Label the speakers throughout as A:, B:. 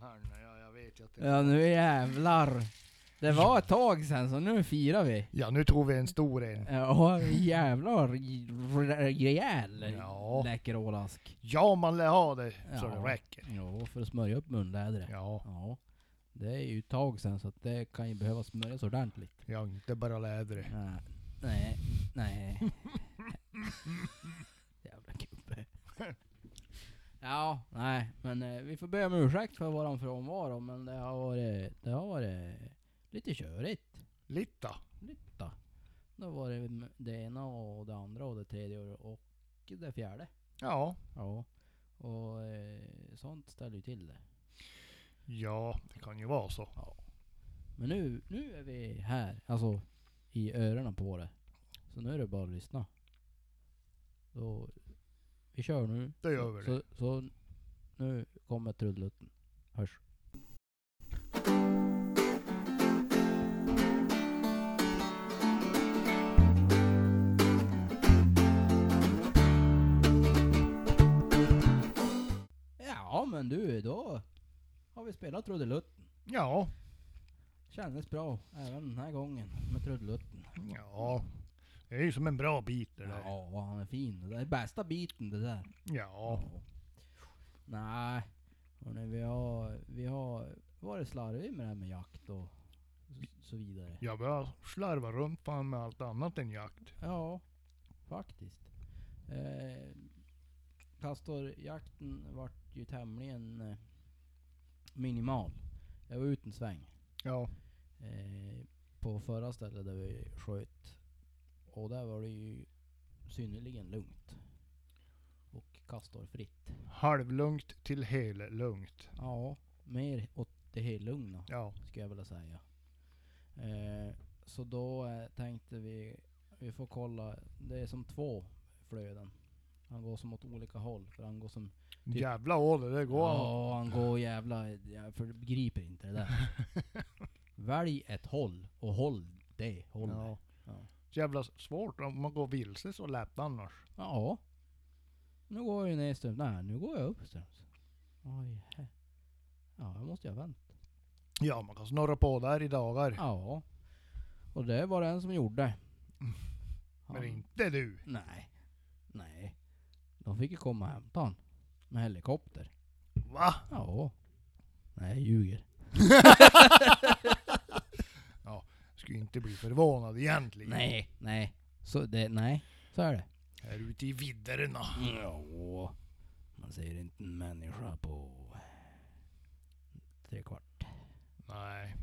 A: här nu. Ja, jag vet ju att det
B: Ja nu jävlar. Det var ett tag sen så nu firar vi.
A: ja, nu tror vi en stor en.
B: Ja jävlar j- rejäl
A: Ja.
B: läkerålask.
A: Ja, man lär ha det så
B: Ja.
A: det räcker.
B: Ja för att smörja upp munlädret.
A: Ja,
B: Ja. Det är ju ett tag sen så att det kan ju behöva smörjas ordentligt.
A: ja inte bara läder.
B: Nej. Nej. Nej. Jävla gubbe. Ja, nej. Men eh, vi får be om ursäkt för våran frånvaro men det har varit, det har varit lite körigt.
A: Litta.
B: Lite. Då var det det ena och det andra och det tredje och och det fjärde.
A: Ja.
B: Ja. Och eh, sånt ställer ju till det.
A: Ja, det kan ju vara så.
B: Men nu, nu är vi här. Alltså i öronen på det. Så nu är det bara att lyssna. Då, vi kör nu.
A: Det gör vi
B: Så, så nu kommer trudelutten. Hörs. Ja men du, då har vi spelat trudelutten.
A: Ja.
B: Kändes bra även den här gången med trudelutten.
A: Ja. Det är ju som en bra bit det där.
B: Ja, han är fin. Det där är bästa biten det där.
A: Ja.
B: Nej, hörni, vi har, vi har varit slarviga med det här med jakt och s- så vidare.
A: Jag börjar slarva runt fan med allt annat än jakt.
B: Ja, faktiskt. Eh, Castorjakten vart ju tämligen eh, minimal. Jag var ute en sväng
A: Ja.
B: eh, på förra stället där vi sköt. Och där var det ju synnerligen lugnt. Och kastorfritt.
A: Halvlugnt till hellugnt.
B: Ja, mer åt det här lugna.
A: Ja.
B: skulle jag vilja säga. Eh, så då eh, tänkte vi, vi får kolla, det är som två flöden. Han går som åt olika håll, för han går som...
A: Jävla ålder, det går han.
B: Ja, han går jävla... Jag för- begriper inte det där. Välj ett håll och håll det hållet. Ja.
A: Ja. Så jävla svårt om man går vilse så lätt annars.
B: ja. Nu går jag ju nedströms. Nej, nu går jag uppströms. Oj. he- Ja, jag måste jag vänta.
A: Ja, man kan snurra på där i dagar.
B: Ja. Och det var det en som gjorde.
A: Men
B: Han-
A: inte du.
B: Nej. Nej. De fick ju komma och hämta han. Med helikopter.
A: Va?
B: Ja. Nej, jag ljuger.
A: Skulle inte bli förvånad egentligen.
B: Nej, nej. Så det, nej. Så är det.
A: Här ute i vidderna.
B: Ja. Man säger inte en människa på tre kvart.
A: Nej.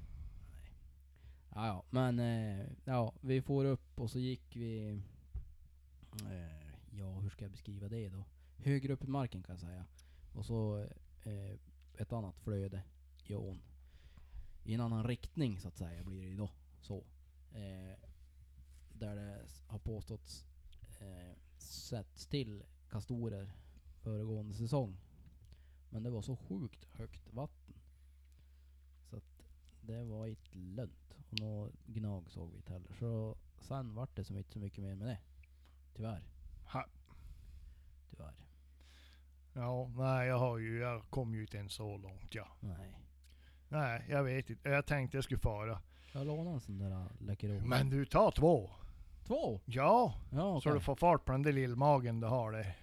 B: Ja, ja. men eh, ja, vi får upp och så gick vi... Eh, ja, hur ska jag beskriva det då? Högre upp i marken kan jag säga. Och så eh, ett annat flöde i ån. I en annan riktning så att säga blir det ju då. Så. Eh, där det s- har påståtts eh, sätts till kastorer föregående säsong. Men det var så sjukt högt vatten. Så att det var ett lönt. Och nå gnag såg vi inte heller. Så sen vart det som inte så mycket mer med det. Tyvärr.
A: Ha.
B: Tyvärr.
A: Ja, nej jag har ju, jag kom ju inte ens så långt ja.
B: Nej.
A: Nej, jag vet inte. Jag tänkte jag skulle fara.
B: Jag lånade en sån där äh, Läkerol.
A: Men du, tar två.
B: Två!
A: Ja,
B: Ja,
A: så
B: okej.
A: du får fart på den där lillmagen du har där.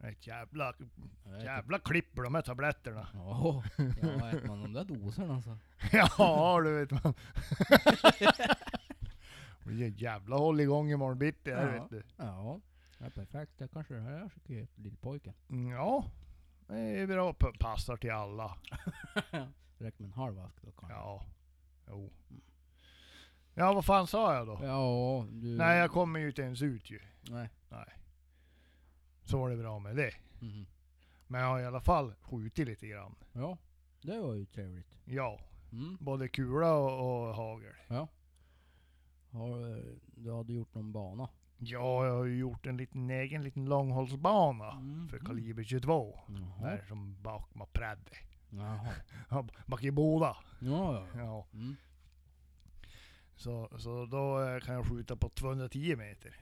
B: Ja,
A: Ett jävla,
B: jag vet inte.
A: jävla klipp på de här tabletterna.
B: Ja, ja, äter man de där doserna alltså.
A: Ja, du vet man. Och ge jävla håll igång imorgon bitti här
B: Ja.
A: vet du.
B: Ja. ja, perfekt. Det kanske är det här jag ska ge till lillpojken.
A: Mm, Ja, det är bra. P- Passar till alla.
B: Räcker med en halv ask då kanske.
A: Ja, jo. Ja, vad fan sa jag
B: Mm.
A: då?
B: Ja, du...
A: Nej, jag kommer ju inte ens ut ju.
B: Nej.
A: Så var det bra med det.
B: Mhm.
A: Men jag har i alla fall skjutit lite grann.
B: Ja, det var ju trevligt.
A: Ja,
B: Mm.
A: både kula och, och hagel.
B: Ja. Har, eh, du hade gjort någon bana?
A: Ja, jag har ju gjort en liten egen liten långhållsbana
B: Mm.
A: för kaliber 22.
B: Jaha.
A: Där som Bakma Prädde.
B: Jaha.
A: Ja, Bak i båda.
B: Ja, ja, ja.
A: Ja.
B: Mm.
A: Så, så då eh, kan jag skjuta på 210 meter.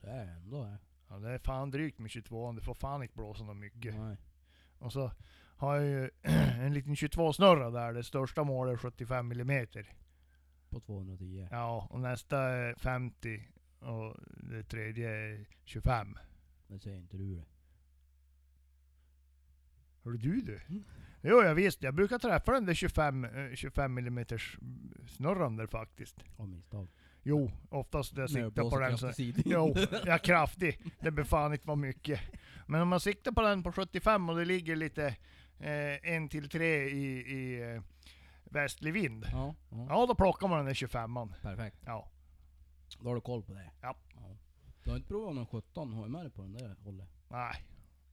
B: Det är ändå det. Mm.
A: Ja, det är fan drygt med 22 det får fan inte blåsa något mycket.
B: Nej.
A: Och så har jag ju en liten 22-snurra där. Det största målet är 75 mm.
B: På 210.
A: Ja, och nästa är 50 och det tredje är 25.
B: Det säger inte du det.
A: Hör du du?
B: Mm.
A: Jo, jag visst. Jag brukar träffa den där 25, eh, 25 mm snurran där faktiskt.
B: Av misstag.
A: Jo, oftast jag
B: När jag
A: siktar på
B: blåser
A: den så...
B: kraftigt i.
A: Jo, jag är kraftig. Det blir fan inte vad mycket. Men om man siktar på den på 75 och det ligger lite eh, en till tre i, i eh, västlig vind.
B: Ja, ja.
A: Ja, då plockar man den där 25an.
B: Perfekt.
A: Ja.
B: Då har du koll på det.
A: Ja.
B: Du har inte provat någon 17 HMR på den där hållet?
A: Nej,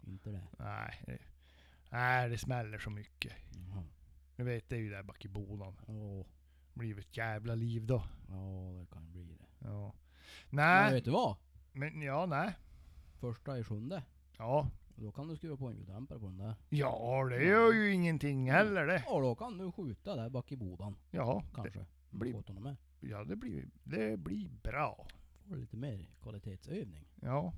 B: Inte det?
A: nej. det- Nej, det smäller så mycket.
B: Jaha.
A: Du vet, det är ju där bak i bonan.
B: Åh,
A: Det blir ju ett jävla liv då.
B: ja det kan bli det.
A: Ja.
B: Men
A: Nej,
B: vet du vad?
A: men ja, nej.
B: Första i sjunde.
A: Ja.
B: Då kan du skruva på en ljuddämpare på den där.
A: Ja, det gör ju ingenting heller det.
B: Och då kan du skjuta där bak i bodan.
A: Ja, det,
B: Kanske.
A: blir-
B: Blir... Med.
A: ja, det, blir, det blir bra.
B: Får du lite mer kvalitetsövning.
A: Ja.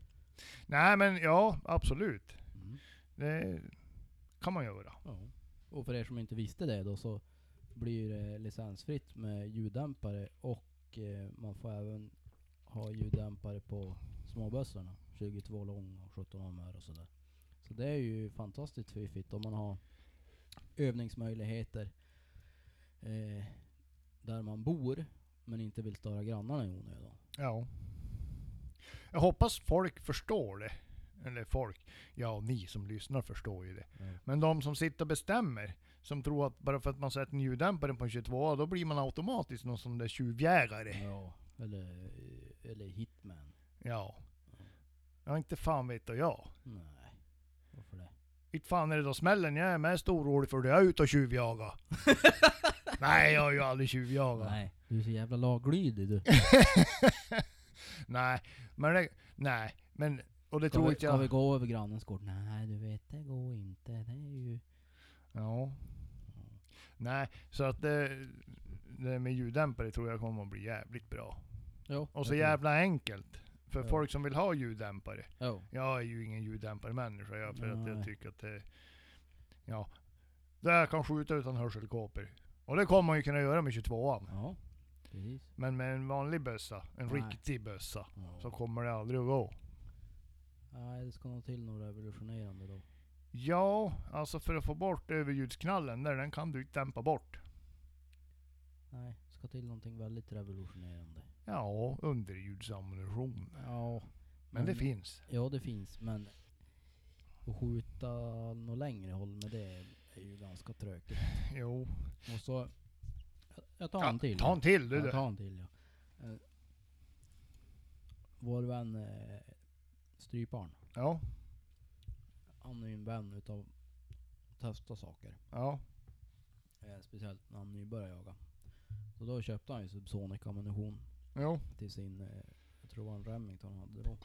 A: Nej men ja, absolut.
B: Mm.
A: Det kan man göra.
B: Ja. Och för er som inte visste det då så blir det licensfritt med ljuddämpare och eh, man får även ha ljuddämpare på småbössorna. 22 lång och 17 ömmar och sådär. Så det är ju fantastiskt fiffigt om man har övningsmöjligheter eh, där man bor men inte vill störa grannarna i onödan.
A: Ja. Jag hoppas folk förstår det. Eller folk, ja ni som lyssnar förstår ju det.
B: Ja.
A: Men de som sitter och bestämmer, som tror att bara för att man sätter en ljuddämpare på en 22 då blir man automatiskt någon sån där tjuvjägare.
B: Ja, eller, eller hitman.
A: Ja. Ja inte fan vet jag.
B: Nej, varför det?
A: Inte fan är det då smällen jag är mest orolig för. Det jag är ute och tjuvjagar. Nej jag har ju aldrig tjuvjagat.
B: Nej, du är så jävla laglydig du.
A: nej, men det, nej, men och det
B: Ska
A: tror
B: vi,
A: inte
B: ska
A: jag.
B: vi gå över grannens gård? Nej du vet, det går inte. Det är ju...
A: Ja. Nej, så att det, det med ljuddämpare tror jag kommer att bli jävligt bra.
B: Jo,
A: Och så jävla enkelt. För
B: Ja.
A: folk som vill ha ljuddämpare.
B: Jo.
A: Jag är ju ingen ljuddämparmänniska jag, för att jag
B: Nej.
A: tycker att det, ja. Där kan skjuta utan hörselkåpor. Och det kommer man ju kunna göra med 22an.
B: Ja, precis.
A: Men med en vanlig bössa, en
B: Nej.
A: riktig bössa,
B: Ja.
A: så kommer det aldrig att gå.
B: Nej, det ska nog till något revolutionerande då.
A: Ja, alltså för att få bort överljudsknallen där, den kan du inte dämpa bort.
B: Nej, det ska till någonting väldigt revolutionerande.
A: Ja, underljudsammunition.
B: Ja.
A: Men
B: Mm.
A: det finns.
B: Ja, det finns, men... Att skjuta något längre håll med det är ju ganska tråkigt.
A: Jo.
B: Och så... jag- Jag tar
A: Ja,
B: en till.
A: Ta en till du.
B: Ja,
A: du.
B: ta en till ja. Eh, Vår vän eh, Stryparn,
A: Ja,
B: han är ju en vän utav att testa saker.
A: ja,
B: Eh, speciellt när han nybörjar jaga. Så då köpte han ju Subsonic ammunition
A: jo,
B: till sin, eh, jag tror det var en Remington han hade då.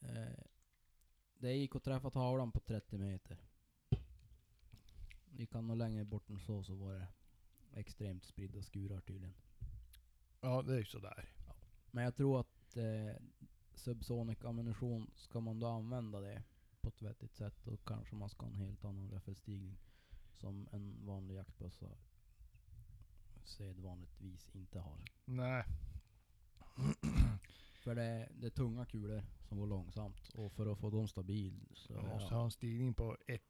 B: Eh, det gick att träffa tavlan på 30 meter. Gick han nog längre bort än så så var det extremt spridda skurar tydligen.
A: ja det är ju sådär.
B: Men jag tror att eh, subsonic ammunition, ska man då använda det på ett vettigt sätt då kanske man ska ha en helt annan räffelstigning som en vanlig jaktbössa sedvanligtvis inte har.
A: Nej,
B: För det, det är tunga kulor som går långsamt och för att få dem stabil så...
A: jag måste ha en stigning på 1-1.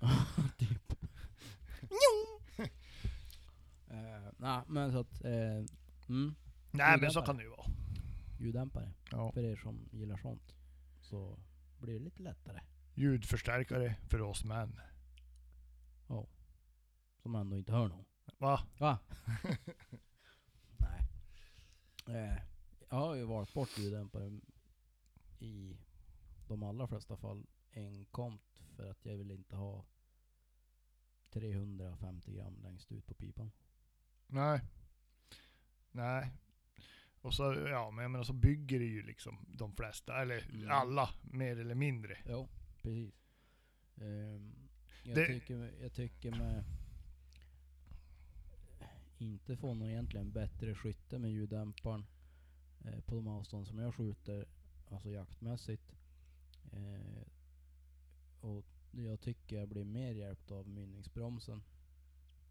B: typ. eh, Nej men så att... Eh,
A: Nej
B: mm,
A: men
B: Ljuddämpare.
A: så kan det ju vara.
B: ljuddämpare.
A: Ja.
B: För er som gillar sånt så blir det lite lättare.
A: Ljudförstärkare för oss män.
B: Som ändå inte hör någon.
A: Va?
B: Va? Nej. Eh, jag har ju valt bort ljuddämpare i de allra flesta fall enkomt för att jag vill inte ha 350 gram längst ut på pipan.
A: Nej. Nej. Och så, ja men jag menar så bygger det ju liksom de flesta, eller
B: Mm.
A: alla, mer eller mindre.
B: Jo, precis. Ehm, jag,
A: Det-
B: tycker, jag tycker med... Inte få någon egentligen bättre skytte med ljuddämparen eh, på de avstånd som jag skjuter, alltså jaktmässigt. Eh, och jag tycker jag blir mer hjälpt av mynningsbromsen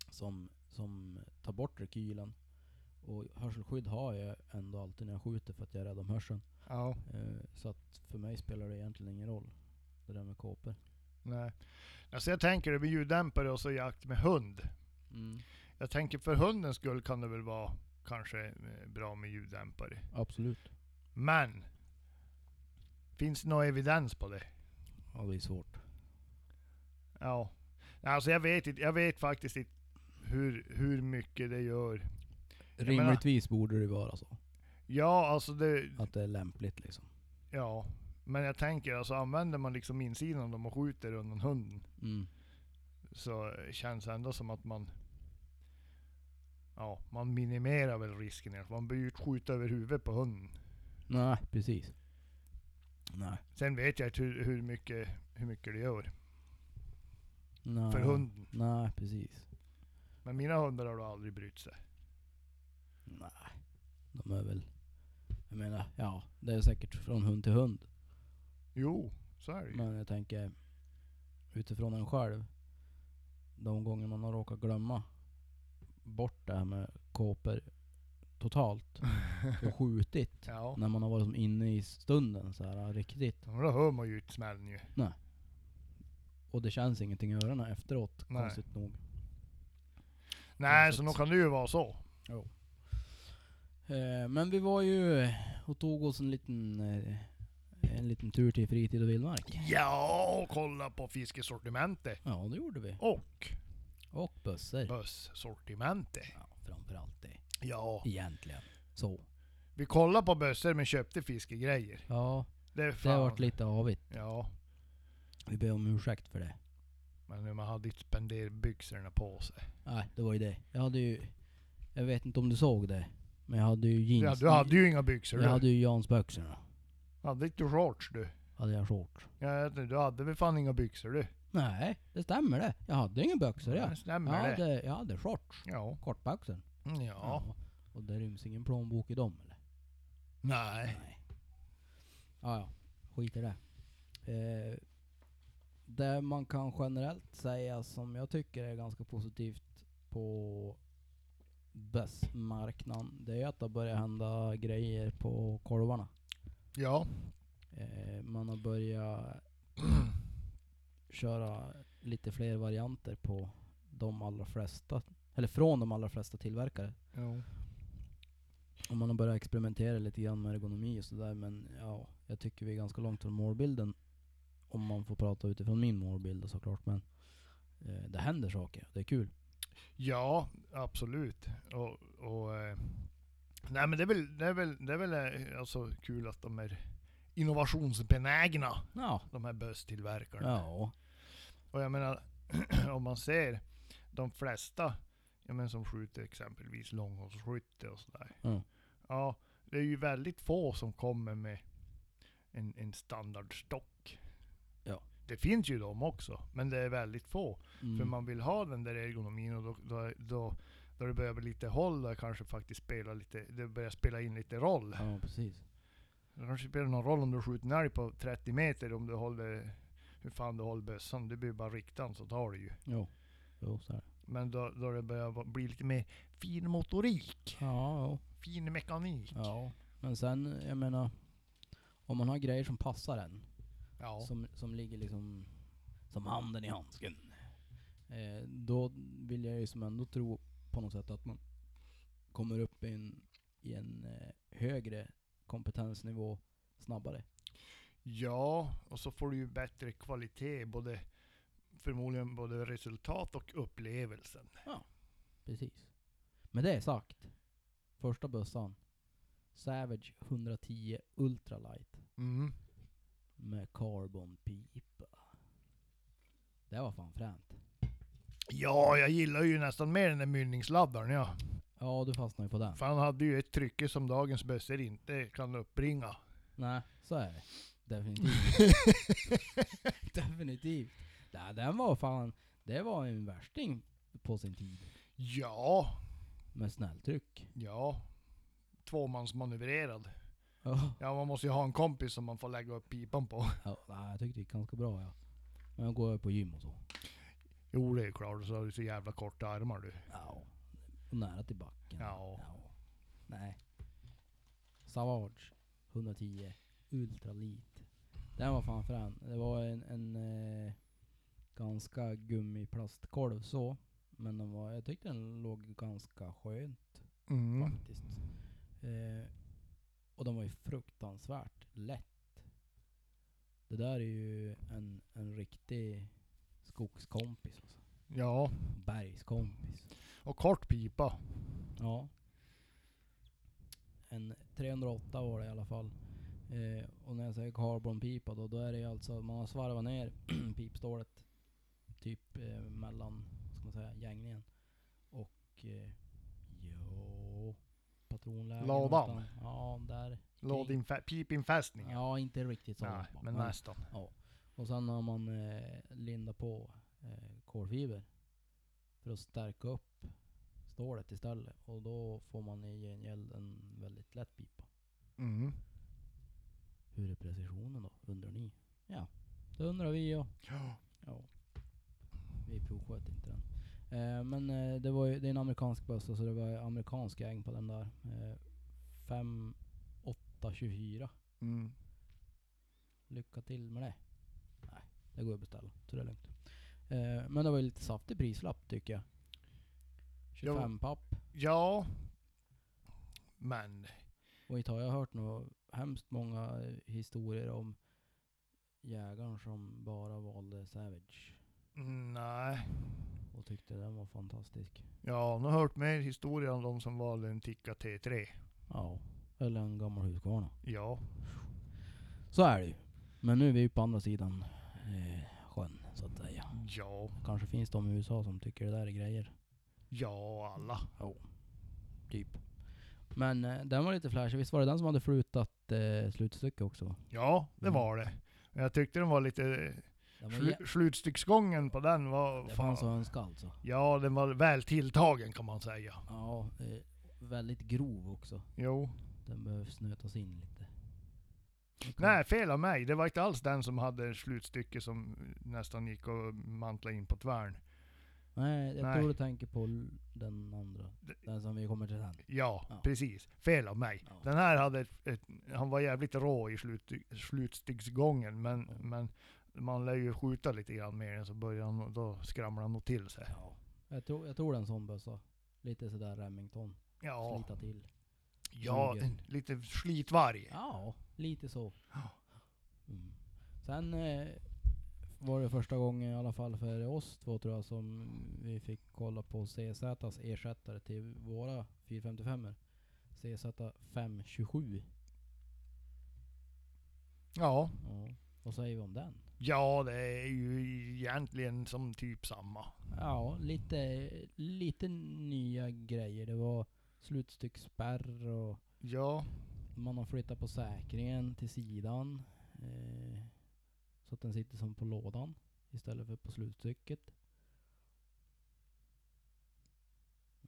B: som, som tar bort rekylen. Och hörselskydd har jag ändå alltid när jag skjuter för att jag är rädd om hörseln.
A: Ja,
B: Eh, så att för mig spelar det egentligen ingen roll, det där med kåpor.
A: nej. Alltså jag tänker det med ljuddämpare och så jakt med hund.
B: Mm.
A: Jag tänker för hundens skull kan det väl vara kanske eh, bra med ljuddämpare.
B: Absolut.
A: Men! Finns det någon evidens på det?
B: Ja, det är svårt.
A: Ja. Nej, Alltså jag vet, inte, jag vet faktiskt inte hur, hur mycket det gör. Jag menar-
B: Rimligtvis borde det vara så.
A: Ja, alltså det...
B: Att det är lämpligt liksom.
A: Ja. Men jag tänker alltså använder man liksom insidan av dem och skjuter undan hunden
B: Mm.
A: så känns det ändå som att man... Ja, man minimerar väl risken. i alla fall. Man behöver ju inte skjuta över huvudet på hunden.
B: Nej, precis. Nej.
A: Sen vet jag inte hur, hur, mycket, hur mycket det gör
B: Nej.
A: för hunden.
B: Nej, precis.
A: Men mina hundar har då aldrig brytt sig.
B: Nej. De är väl... Jag menar, ja. Det är säkert från hund till hund.
A: Jo, så är det ju.
B: Men jag tänker utifrån en själv. De gånger man har råkat glömma bort det här med kåpor totalt och skjutit.
A: Ja.
B: När man har varit som inne i stunden så här riktigt.
A: Men Då hör man ju inte smällen ju.
B: Och det känns ingenting i öronen efteråt,
A: Nej.
B: konstigt nog.
A: Nej,
B: så
A: så
B: att-
A: nog kan det ju vara så.
B: Eh, men vi var ju och tog oss en liten, eh, en liten tur till fritid och vildmark.
A: Ja, kolla på fiskesortimentet.
B: Ja, det gjorde vi.
A: Och
B: Och bössor.
A: bössortimentet.
B: Ja, framförallt det.
A: Ja,
B: Egentligen. Så.
A: vi kollade på bössor men köpte fiskegrejer.
B: Ja,
A: Det, är
B: det
A: fan.
B: har varit lite avigt.
A: Ja,
B: Vi ber om ursäkt för det.
A: men man hade inte spenderat byxorna på sig.
B: Nej, det var ju det. Jag hade ju... Jag vet inte om du såg det. Men jag hade ju jeans.
A: Ja, du hade ju inga byxor
B: jag
A: du.
B: hade ju Jansbyxorna.
A: Hade inte du shorts du?
B: Hade jag shorts.
A: Jag vet inte, du hade väl fan inga byxor du?
B: Nej, det stämmer det. Jag hade inga byxor jag.
A: Det
B: Jag
A: stämmer det.
B: hade, jag hade shorts.
A: Ja.
B: Kortbyxor.
A: Mm, ja.
B: Och det ryms ingen plånbok i dem eller?
A: Nej.
B: Ja, ja. Skit i det. Eh, det man kan generellt säga som jag tycker är ganska positivt på bössmarknaden, det är ju att det börjar hända grejer på korvarna.
A: Ja.
B: Eh, man har börjat köra lite fler varianter på de allra flesta, eller från de allra flesta tillverkare.
A: Jo.
B: Och man har börjat experimentera lite grann med ergonomi och sådär men ja, jag tycker vi är ganska långt från målbilden. Om man får prata utifrån min målbild och såklart men eh, det händer saker, det är kul.
A: Ja, absolut. Och, och, eh, nej men det är väl, det är väl, det är väl eh, alltså kul att de är innovationsbenägna,
B: Ja.
A: de här böstillverkarna.
B: Ja.
A: Och jag menar, om man ser de flesta jag menar, som skjuter exempelvis långhållsskytte och sådär.
B: Mm.
A: Ja, det är ju väldigt få som kommer med en, en standardstock.
B: Ja.
A: Det finns ju de också, men det är väldigt få. För
B: Mm.
A: man vill ha den där ergonomin och då, då, då, då det börjar bli lite håll och kanske faktiskt spela lite, det börjar spela in lite roll.
B: Ja precis.
A: Det kanske spelar någon roll om du skjuter en älg på 30 meter om du håller, hur fan du håller bössan. Du behöver bara rikta den så tar det ju.
B: Jo. Jo så är det.
A: Men då, då det börjar va- bli lite mer fin motorik,
B: Ja, jo.
A: fin mekanik.
B: ja. Men sen, jag menar. Om man har grejer som passar en.
A: Ja.
B: Som, som ligger liksom som handen i handsken. Eh, då vill jag ju som ändå tro på något sätt att man kommer upp i en, i en eh, högre kompetensnivå snabbare.
A: ja, och så får du ju bättre kvalitet, både förmodligen både resultat och upplevelsen.
B: Precis. Med det sagt. Första bössan. Savage 110 Ultralight
A: Mm.
B: med carbonpipa. Det var fan fränt.
A: Ja, jag gillar ju nästan mer den där mynningsladdaren ja.
B: Ja, du fastnade ju på den.
A: För han hade ju ett trycke som dagens bössor inte kan uppbringa.
B: Nej, så är det. Definitivt. Definitivt. Nej, den var fan, det var en värsting på sin tid.
A: Ja,
B: Med snälltryck.
A: ja. Tvåmansmanövrerad.
B: Ja,
A: Ja, man måste ju ha en kompis som man får lägga upp pipan på.
B: ja, nej, jag tyckte det gick ganska bra ja. Men jag går på gym och så.
A: Jo det är klart, så har du så jävla korta armar du.
B: Ja. Och nära till backen.
A: Ja.
B: Nej. Savage 110 Ultralit. Den var fan frän. Det var en, en eh, ganska gummiplastkolv så. Men den var, jag tyckte den låg ganska skön
A: Mm.
B: faktiskt. Eh, och den var ju fruktansvärt lätt. Det där är ju en, en riktig skogskompis. Alltså.
A: Ja,
B: Bergskompis.
A: och kort pipa.
B: Ja. En 308 var det i alla fall. Eh, och när jag säger carbonpipa då, då är det ju alltså att man har svarvat ner pipstålet typ eh, mellan, vad ska man säga, gängningen och eh, ja, patronlägen.
A: Lådan.
B: någonstans. Ja, där.
A: Lådinfä- pipinfästning. Ja,
B: Ja, Mm. inte riktigt så.
A: Nej,
B: långt bak,
A: men nästan.
B: och sen har man eh, lindat på eh, kolfiber för att stärka upp stålet istället. Och då får man i gengäld en väldigt lätt pipa.
A: Mm.
B: Hur är precisionen då, undrar ni? Ja, det undrar vi ja.
A: Ja.
B: ja. Vi provsköt inte den. Eh, men eh, det, var ju, det är en amerikansk bössa så det var ju amerikansk gäng på den där. Eh, 5824.
A: Mm.
B: Lycka till med det. Nej, det går att beställa. Så det är lugnt. Eh, men det var ju lite saftig prislapp tycker jag. 25 papp.
A: ja. Men
B: Och inte har jag hört några hemskt många eh, historier om jägaren som bara valde Savage.
A: nej.
B: Och tyckte den var fantastisk.
A: Ja, nu har jag hört mer historier om de som valde en Tikka T3.
B: Ja. Eller en gammal Husqvarna.
A: Ja.
B: Så är det ju. Men nu är vi ju på andra sidan eh, sjön så att säga.
A: Ja.
B: Kanske finns de i USA som tycker det där är grejer.
A: Ja, alla.
B: Typ. Men eh, den var lite flashig. Visst var det den som hade flutat eh, slutstycket också? va?
A: Ja, det
B: Mm.
A: var det. Men jag tyckte den var lite...
B: Den var jä-
A: Slu- slutstycksgången på den var...
B: det
A: fan,
B: fanns att önska alltså.
A: Ja, den var väl tilltagen kan man säga.
B: Ja, eh, väldigt grov också.
A: Jo.
B: Den behöver snötas in lite. Okej.
A: Nej, fel av mig. Det var inte alls den som hade slutstycke som nästan gick att mantla in på tvärn.
B: Nej, jag
A: Nej.
B: tror du tänker på l- den andra.
A: Det-
B: Den som vi kommer till sen.
A: Ja,
B: Ja.
A: precis. Fel av mig.
B: Ja.
A: Den här hade ett, ett, han var jävligt rå i slut, slutstycksgången, men,
B: Ja.
A: men man lär ju skjuta lite grann med den så börjar han, då skramlar han nog till sig.
B: Ja. Jag, tror, jag tror det är en sån bössa. Lite sådär Remington.
A: Ja,
B: Slita till.
A: ja
B: suger.
A: en, lite slitvarg.
B: Ja, lite så.
A: Ja.
B: Mm. Sen eh, var det första gången i alla fall för oss två tror jag som vi fick kolla på CZs ersättare till våra 455 er CZ 527.
A: Ja.
B: Ja. Vad säger vi om den?
A: ja, det är ju egentligen som typ samma.
B: Ja, lite, lite nya grejer. Det var slutstycksspärr och
A: Ja,
B: man har flyttat på säkringen till sidan. Eh, så att den sitter som på lådan istället för på slutstycket.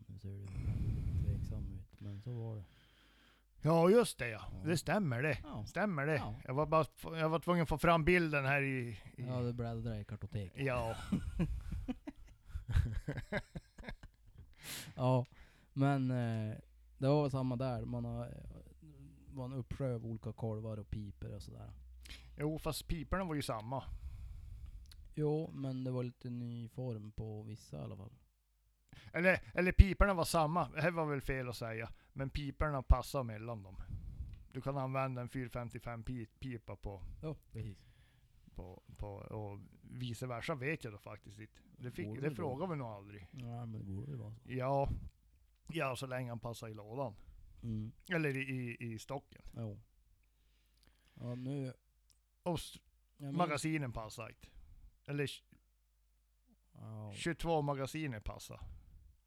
B: Nu ser du väldigt tveksam ut, men så var det.
A: ja just det ja.
B: Ja.
A: Det stämmer det.
B: Ja,
A: Stämmer det.
B: Ja.
A: Jag, var bara, jag var tvungen att få fram bilden här i... i
B: ja det bläddrar i kartoteket.
A: ja.
B: Ja, men eh, det var väl samma där. Man har, det var en uppsjö av olika kolvar och piper och sådär.
A: Jo, fast piporna var ju samma.
B: Jo, men det var lite ny form på vissa i alla fall.
A: Eller, eller piporna var samma, det här var väl fel att säga. Men piporna passar mellan dem. Du kan använda en 455 pi- pipa på,
B: Ja, precis.
A: på, på och vice versa vet jag då faktiskt inte. Det,
B: Borde
A: fick,
B: väl
A: det
B: då.
A: frågar vi nog aldrig.
B: Ja, men det borde väl vara så.
A: Ja, ja, så länge han passar i lådan.
B: Mm.
A: Eller i, i, i stocken.
B: Jo. Ja, nu...
A: Och s-
B: Jag minns,
A: magasinen passar inte. Eller tj-
B: ja,
A: 22 magasiner passar.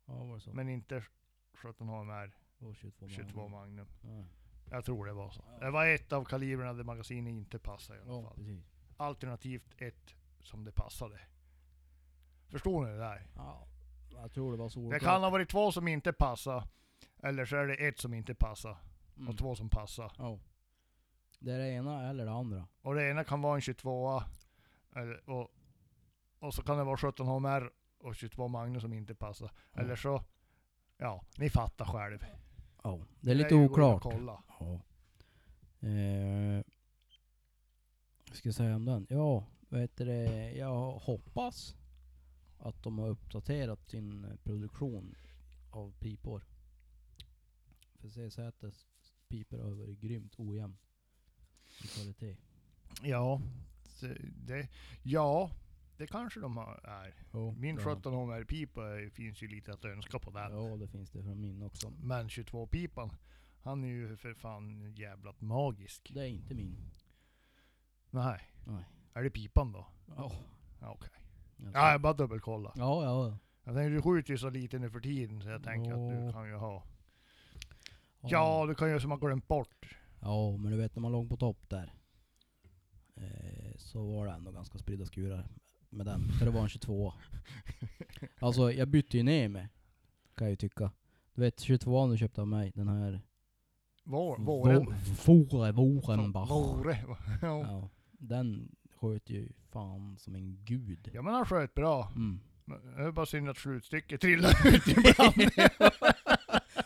B: ja, var det så?
A: Men inte 17 HMR
B: Och 22
A: 22 Magnum.
B: Ja,
A: Jag tror det var så.
B: Ja.
A: Det var ett av kalibrerna där magasinet inte passade i alla
B: ja,
A: fall.
B: precis.
A: alternativt ett som det passade. Förstår ni det där?
B: Ja, jag tror det var
A: Det
B: solklart.
A: kan ha varit två som inte passade, eller så är det ett som inte passade
B: mm.
A: och två som passade.
B: Ja. Det är det ena eller det andra.
A: Och det ena kan vara en 22 eller, och och så kan det vara 17 HMR och 22 Magnus som inte passar. Eller så, ja, ni fattar själv.
B: Ja, det är lite
A: ju bara att
B: oklart.
A: Kolla.
B: Ja. Eh, vad ska jag säga om den? Ja, vad heter det? Jag hoppas att de har uppdaterat sin produktion av pipor. För CZs pipor har varit grymt ojämn i kvalitet.
A: Ja, så det, ja, det kanske de har, är. Min 17 HMR-pipa finns ju lite att önska på där.
B: Ja, det finns det från min också.
A: Men 22-pipan, han är ju för fan jävlat magisk.
B: Det är inte min.
A: Nej.
B: Nej.
A: Är det pipan då?
B: Ja,
A: Ja, Okej.
B: jag
A: Ja,
B: tror-
A: jag bara dubbelkolla.
B: ja, ja.
A: Jag tänkte, du skjuter ju så lite nu för tiden så jag tänker att du
B: Ja.
A: kan ju ha... Ja, du kan ju som har glömt bort.
B: Ja, men du vet när man låg på topp där. Eh, så var det ändå ganska spridda skurar med den. För det var en 22 Alltså jag bytte ju ner mig. Kan jag ju tycka. Du vet 22 du köpte av mig, den här...
A: Vår,
B: Vå-
A: våren.
B: Vore, Vorenbach.
A: Våre. Ja.
B: Ja, den sköt ju fan som en gud.
A: ja men han sköt bra.
B: Mm.
A: Men Det är bara synd att slutstycket trillade ut ibland.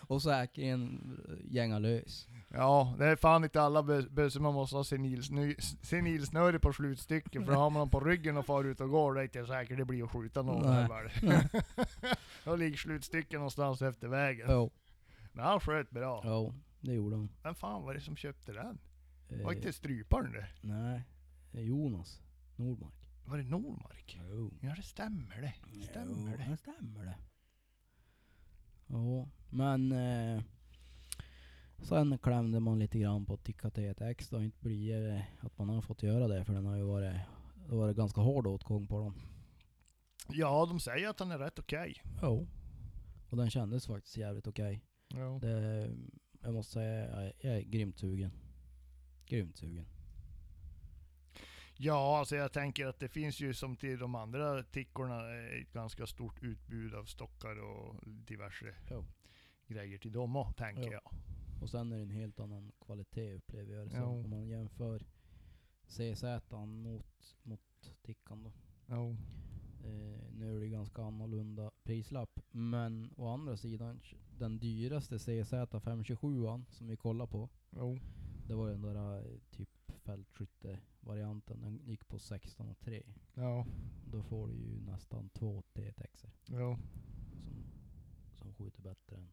B: Och säkerligen gänga lös.
A: Ja, det är fan inte alla bö- bössor man måste ha senilsny- senilsnöre på slutstycket, för har man dem på ryggen och far ut och går, det är inte säkert det blir att skjuta någon
B: Nej.
A: där väl. Då ligger slutstycket någonstans efter vägen.
B: Jo,
A: Men han sköt bra.
B: jo, det gjorde han.
A: Vem fan var det som köpte den?
B: Eh,
A: Var inte stryparen det?
B: Nej, det är Jonas Nordmark.
A: Var det Nordmark?
B: Jo.
A: Ja det stämmer det. Stämmer
B: Jo,
A: det.
B: det stämmer det. Ja, men... Eh, sen klämde man lite grann på Tikka TTX. Det har inte blivit eh, att man har fått göra det, för den har ju varit, det har varit ganska hård åtgång på den.
A: Ja, de säger att han är rätt okej.
B: Jo. Och den kändes faktiskt jävligt okej.
A: Ja.
B: Det- Jag måste säga, jag är, jag är grymt sugen. Grymt sugen.
A: Ja, alltså jag tänker att det finns ju som till de andra tickorna eh, ett ganska stort utbud av stockar och diverse
B: Jo.
A: grejer till dem också, tänker
B: Jo.
A: jag.
B: Och sen är det en helt annan kvalitet upplever jag det
A: Ja.
B: som. Om man jämför CZ mot, mot Tickan då.
A: Ja.
B: Eh, nu är det ganska annorlunda prislapp. Men å andra sidan, tj- den dyraste CZ 527an som vi kollar på.
A: Jo.
B: Det var den där eh, typ fältskytte-varianten. Den gick på 16 och 3.
A: Ja.
B: Då får du ju nästan två T-texer
A: Jo.
B: som, som skjuter bättre än,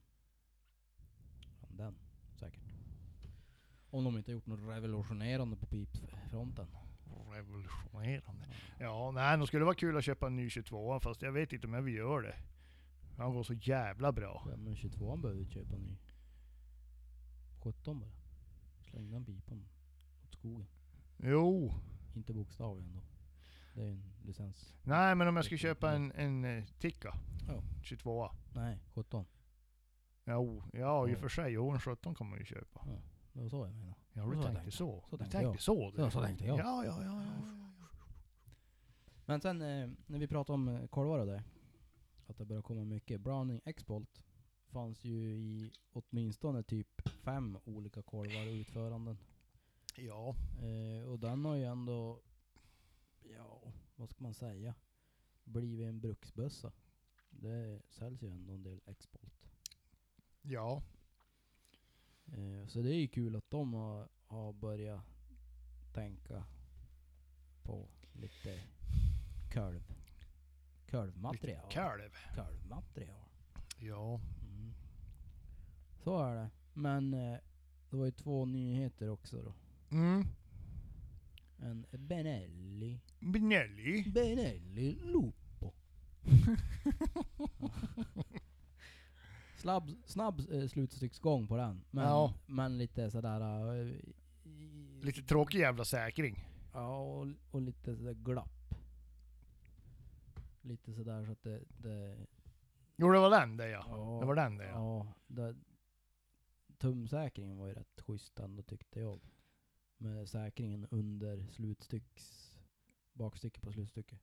B: än den. Säkert. Om de inte har gjort något revolutionerande på pipfronten.
A: Revolutionerande. Ja, nej, det skulle vara kul att köpa en ny 22 fast jag vet inte om jag vill göra det. Han går så jävla bra.
B: Ja, men 22 behöver vi köpa ny. 17 bara. Släng den pipan åt skogen.
A: Jo.
B: Inte bokstavligen då. Det är en licens.
A: Nej, men om jag ska köpa en, en eh, Tikka.
B: Ja.
A: 22
B: Nej, 17.
A: Jo, ja i och
B: Ja.
A: för sig. Jo, en 17 kan man ju köpa.
B: Det var så jag menade.
A: Ja, du
B: Så
A: tänkte
B: tänkte-
A: så. du
B: så tänkte
A: tänkte
B: jag.
A: så. du.
B: Ja, så tänkte jag.
A: Ja, ja, ja. ja, ja.
B: Men sen eh, när vi pratade om eh, korvar och det. Att det börjar komma mycket. Browning Export fanns ju i åtminstone typ fem olika korvar och utföranden.
A: Ja,
B: Eh, och den har ju ändå, ja vad ska man säga, blivit en bruksbössa. Det säljs ju ändå en del export.
A: ja.
B: Eh, så det är ju kul att de har, har börjat tänka på lite kalv. Kalvmaterial.
A: Lite kalv.
B: Kalvmaterial.
A: Ja.
B: Mm. Så är det. Men eh, det var ju två nyheter också då.
A: Mm.
B: En Benelli
A: Benelli.
B: Benelli Lupo. Slabb, snabb eh, slutstycksgång på den. Men,
A: Ja.
B: men lite sådär... eh, i-
A: Lite tråkig jävla säkring.
B: Ja, och, och lite sådär glapp. Lite sådär så att det... det
A: Jo, det var den där ja.
B: ja,
A: Det var den där ja.
B: ja. det, tumsäkringen var ju rätt schysst ändå tyckte jag. Med säkringen under slutstycks... Bakstycket på slutstycket.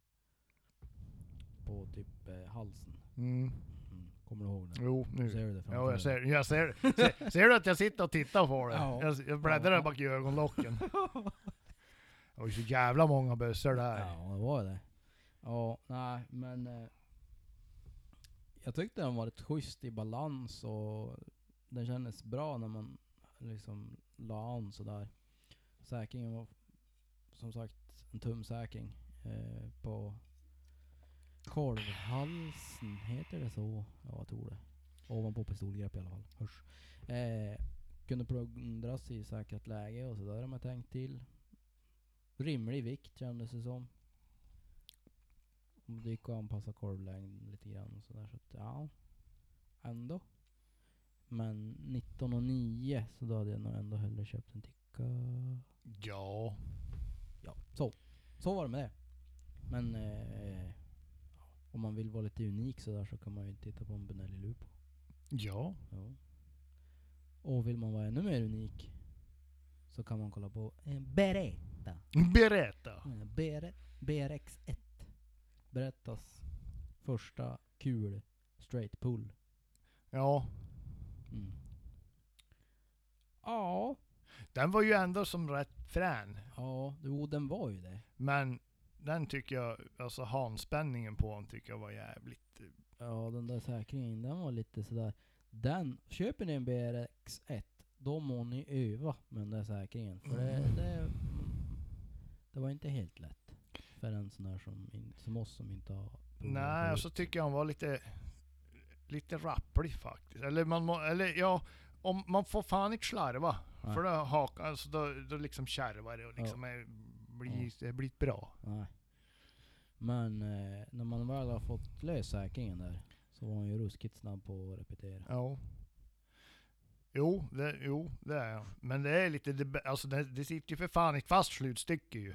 B: På typ eh, halsen.
A: Mm.
B: Mm. Kommer du ihåg det?
A: Jo, nu.
B: Ser du det framför
A: Ja,
B: dig?
A: jag ser, jag ser, ser, ser du att jag sitter och tittar på det?
B: Ja.
A: Jag, jag bläddrar
B: Ja.
A: bak i ögonlocken. Det var ju så jävla många bössor där.
B: Ja, det var det. Ja, nej men... eh, Jag tyckte den var rätt schysst i balans och den kändes bra när man liksom la an sådär. Säkringen var som sagt en tumsäkring eh, på kolvhalsen, heter det så? Ja, jag tror det. Ovanpå pistolgrepp i alla fall. Hörs. Eh, kunde plundras i säkert läge och sådär om jag tänkt till. Rimlig vikt kändes det som. Om det gick att anpassa korvlängden lite grann och sådär. Så att, ja. Ändå. Men 19,9 så då hade jag nog ändå hellre köpt en ticka.
A: Ja.
B: Ja, så. Så var det med det. Men eh, ja, om man vill vara lite unik sådär så kan man ju titta på en Benelli Lupo.
A: Ja.
B: Ja. Och vill man vara ännu mer unik så kan man kolla på en Beretta.
A: Berätta.
B: Eh, BR, BRX1. Berättas första kul straight pull.
A: Ja.
B: Mm. Ja.
A: Den var ju ändå som rätt frän.
B: Ja, jo den var ju det.
A: Men den tycker jag, alltså handspänningen på den tycker jag var jävligt... eh,
B: Ja, den där säkringen, den var lite sådär. Den, köper ni en BRX1, då må ni öva med den där säkringen. För det, det, det var inte helt lätt. För en sån där som, in, som oss som inte har provat
A: Nej, alltså och
B: förut.
A: så tycker jag han var lite... Lite rapplig faktiskt. Eller man må, eller ja... Om, man får fan inte slarva.
B: Nej.
A: För då hakar, alltså då, då liksom kärvar det och liksom är, blir, det blir bra.
B: Nej. Men eh, när man väl har fått lös säkringen där, så var han ju ruskigt snabb på att repetera.
A: Ja. Jo, det, jo, det är jag. Men det är lite, det, alltså det, det sitter ju för fan inte fast slutstycke ju.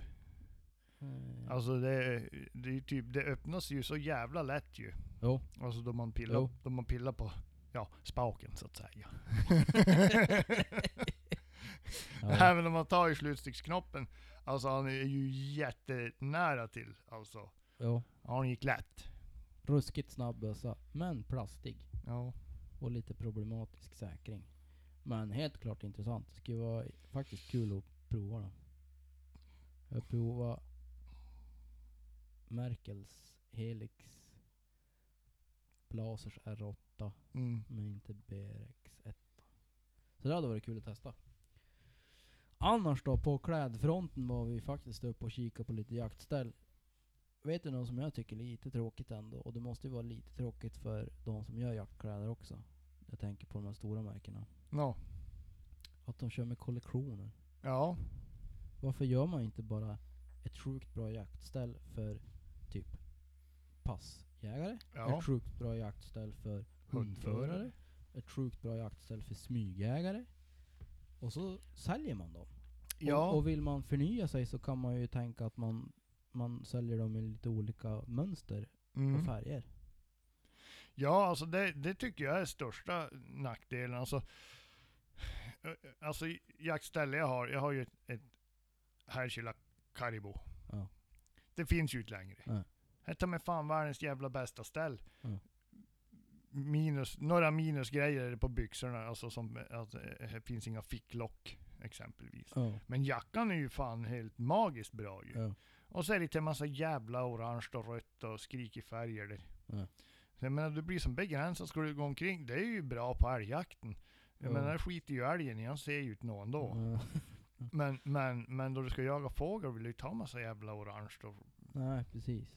B: Eh,
A: Alltså det, det är ju typ, det öppnas ju så jävla lätt ju.
B: Jo.
A: Alltså då man pillar,
B: Jo.
A: då man pillar på, ja, spaken så att säga.
B: Ja.
A: Även om man tar i slutstycksknoppen, alltså han är ju jättenära till alltså.
B: Jo.
A: Ja, han gick lätt.
B: Ruskigt snabb bössa, men plastig.
A: Ja.
B: och lite problematisk säkring. Men helt klart intressant. Det skulle vara faktiskt kul att prova den. Jag provade Merkels Helix Blasers R8
A: Mm.
B: men inte BRX1. Så det hade varit kul att testa. Annars då, på klädfronten var vi faktiskt uppe och kika på lite jaktställ. Vet du något som jag tycker är lite tråkigt ändå? Och det måste ju vara lite tråkigt för de som gör jaktkläder också. Jag tänker på de här stora märkena.
A: Ja.
B: Att de kör med kollektioner.
A: Ja.
B: Varför gör man inte bara ett sjukt bra jaktställ för typ passjägare?
A: Ja.
B: Ett sjukt bra jaktställ för hundförare? ett sjukt bra jaktställ för smygjägare. Och så säljer man dem.
A: Ja.
B: Och, och vill man förnya sig så kan man ju tänka att man, man säljer dem i lite olika mönster
A: Mm.
B: och färger.
A: Ja, alltså det, det tycker jag är största nackdelen. Alltså, eh, alltså jaktställe jag har, jag har ju ett, ett Härkyla Karibo.
B: Ja.
A: Det finns ju inte längre.
B: Nej.
A: Här tar mig fan världens jävla bästa ställ.
B: Ja.
A: Minus, några minusgrejer är det på byxorna, alltså som, alltså, eh, här finns inga ficklock exempelvis.
B: Ja.
A: Men jackan är ju fan helt magiskt bra ju.
B: Ja.
A: Och så är det lite massa jävla orange och rött och skrikig färger där.
B: Ja.
A: Så jag menar, du blir som begränsad, ska du gå omkring, det är ju bra på älgjakten. Jag
B: Ja.
A: menar, där skiter ju älgen i, han ser ju ut någon ändå.
B: Ja.
A: Men, men, men då du ska jaga fågel vill du ju ta massa jävla orange då.
B: Nej, precis.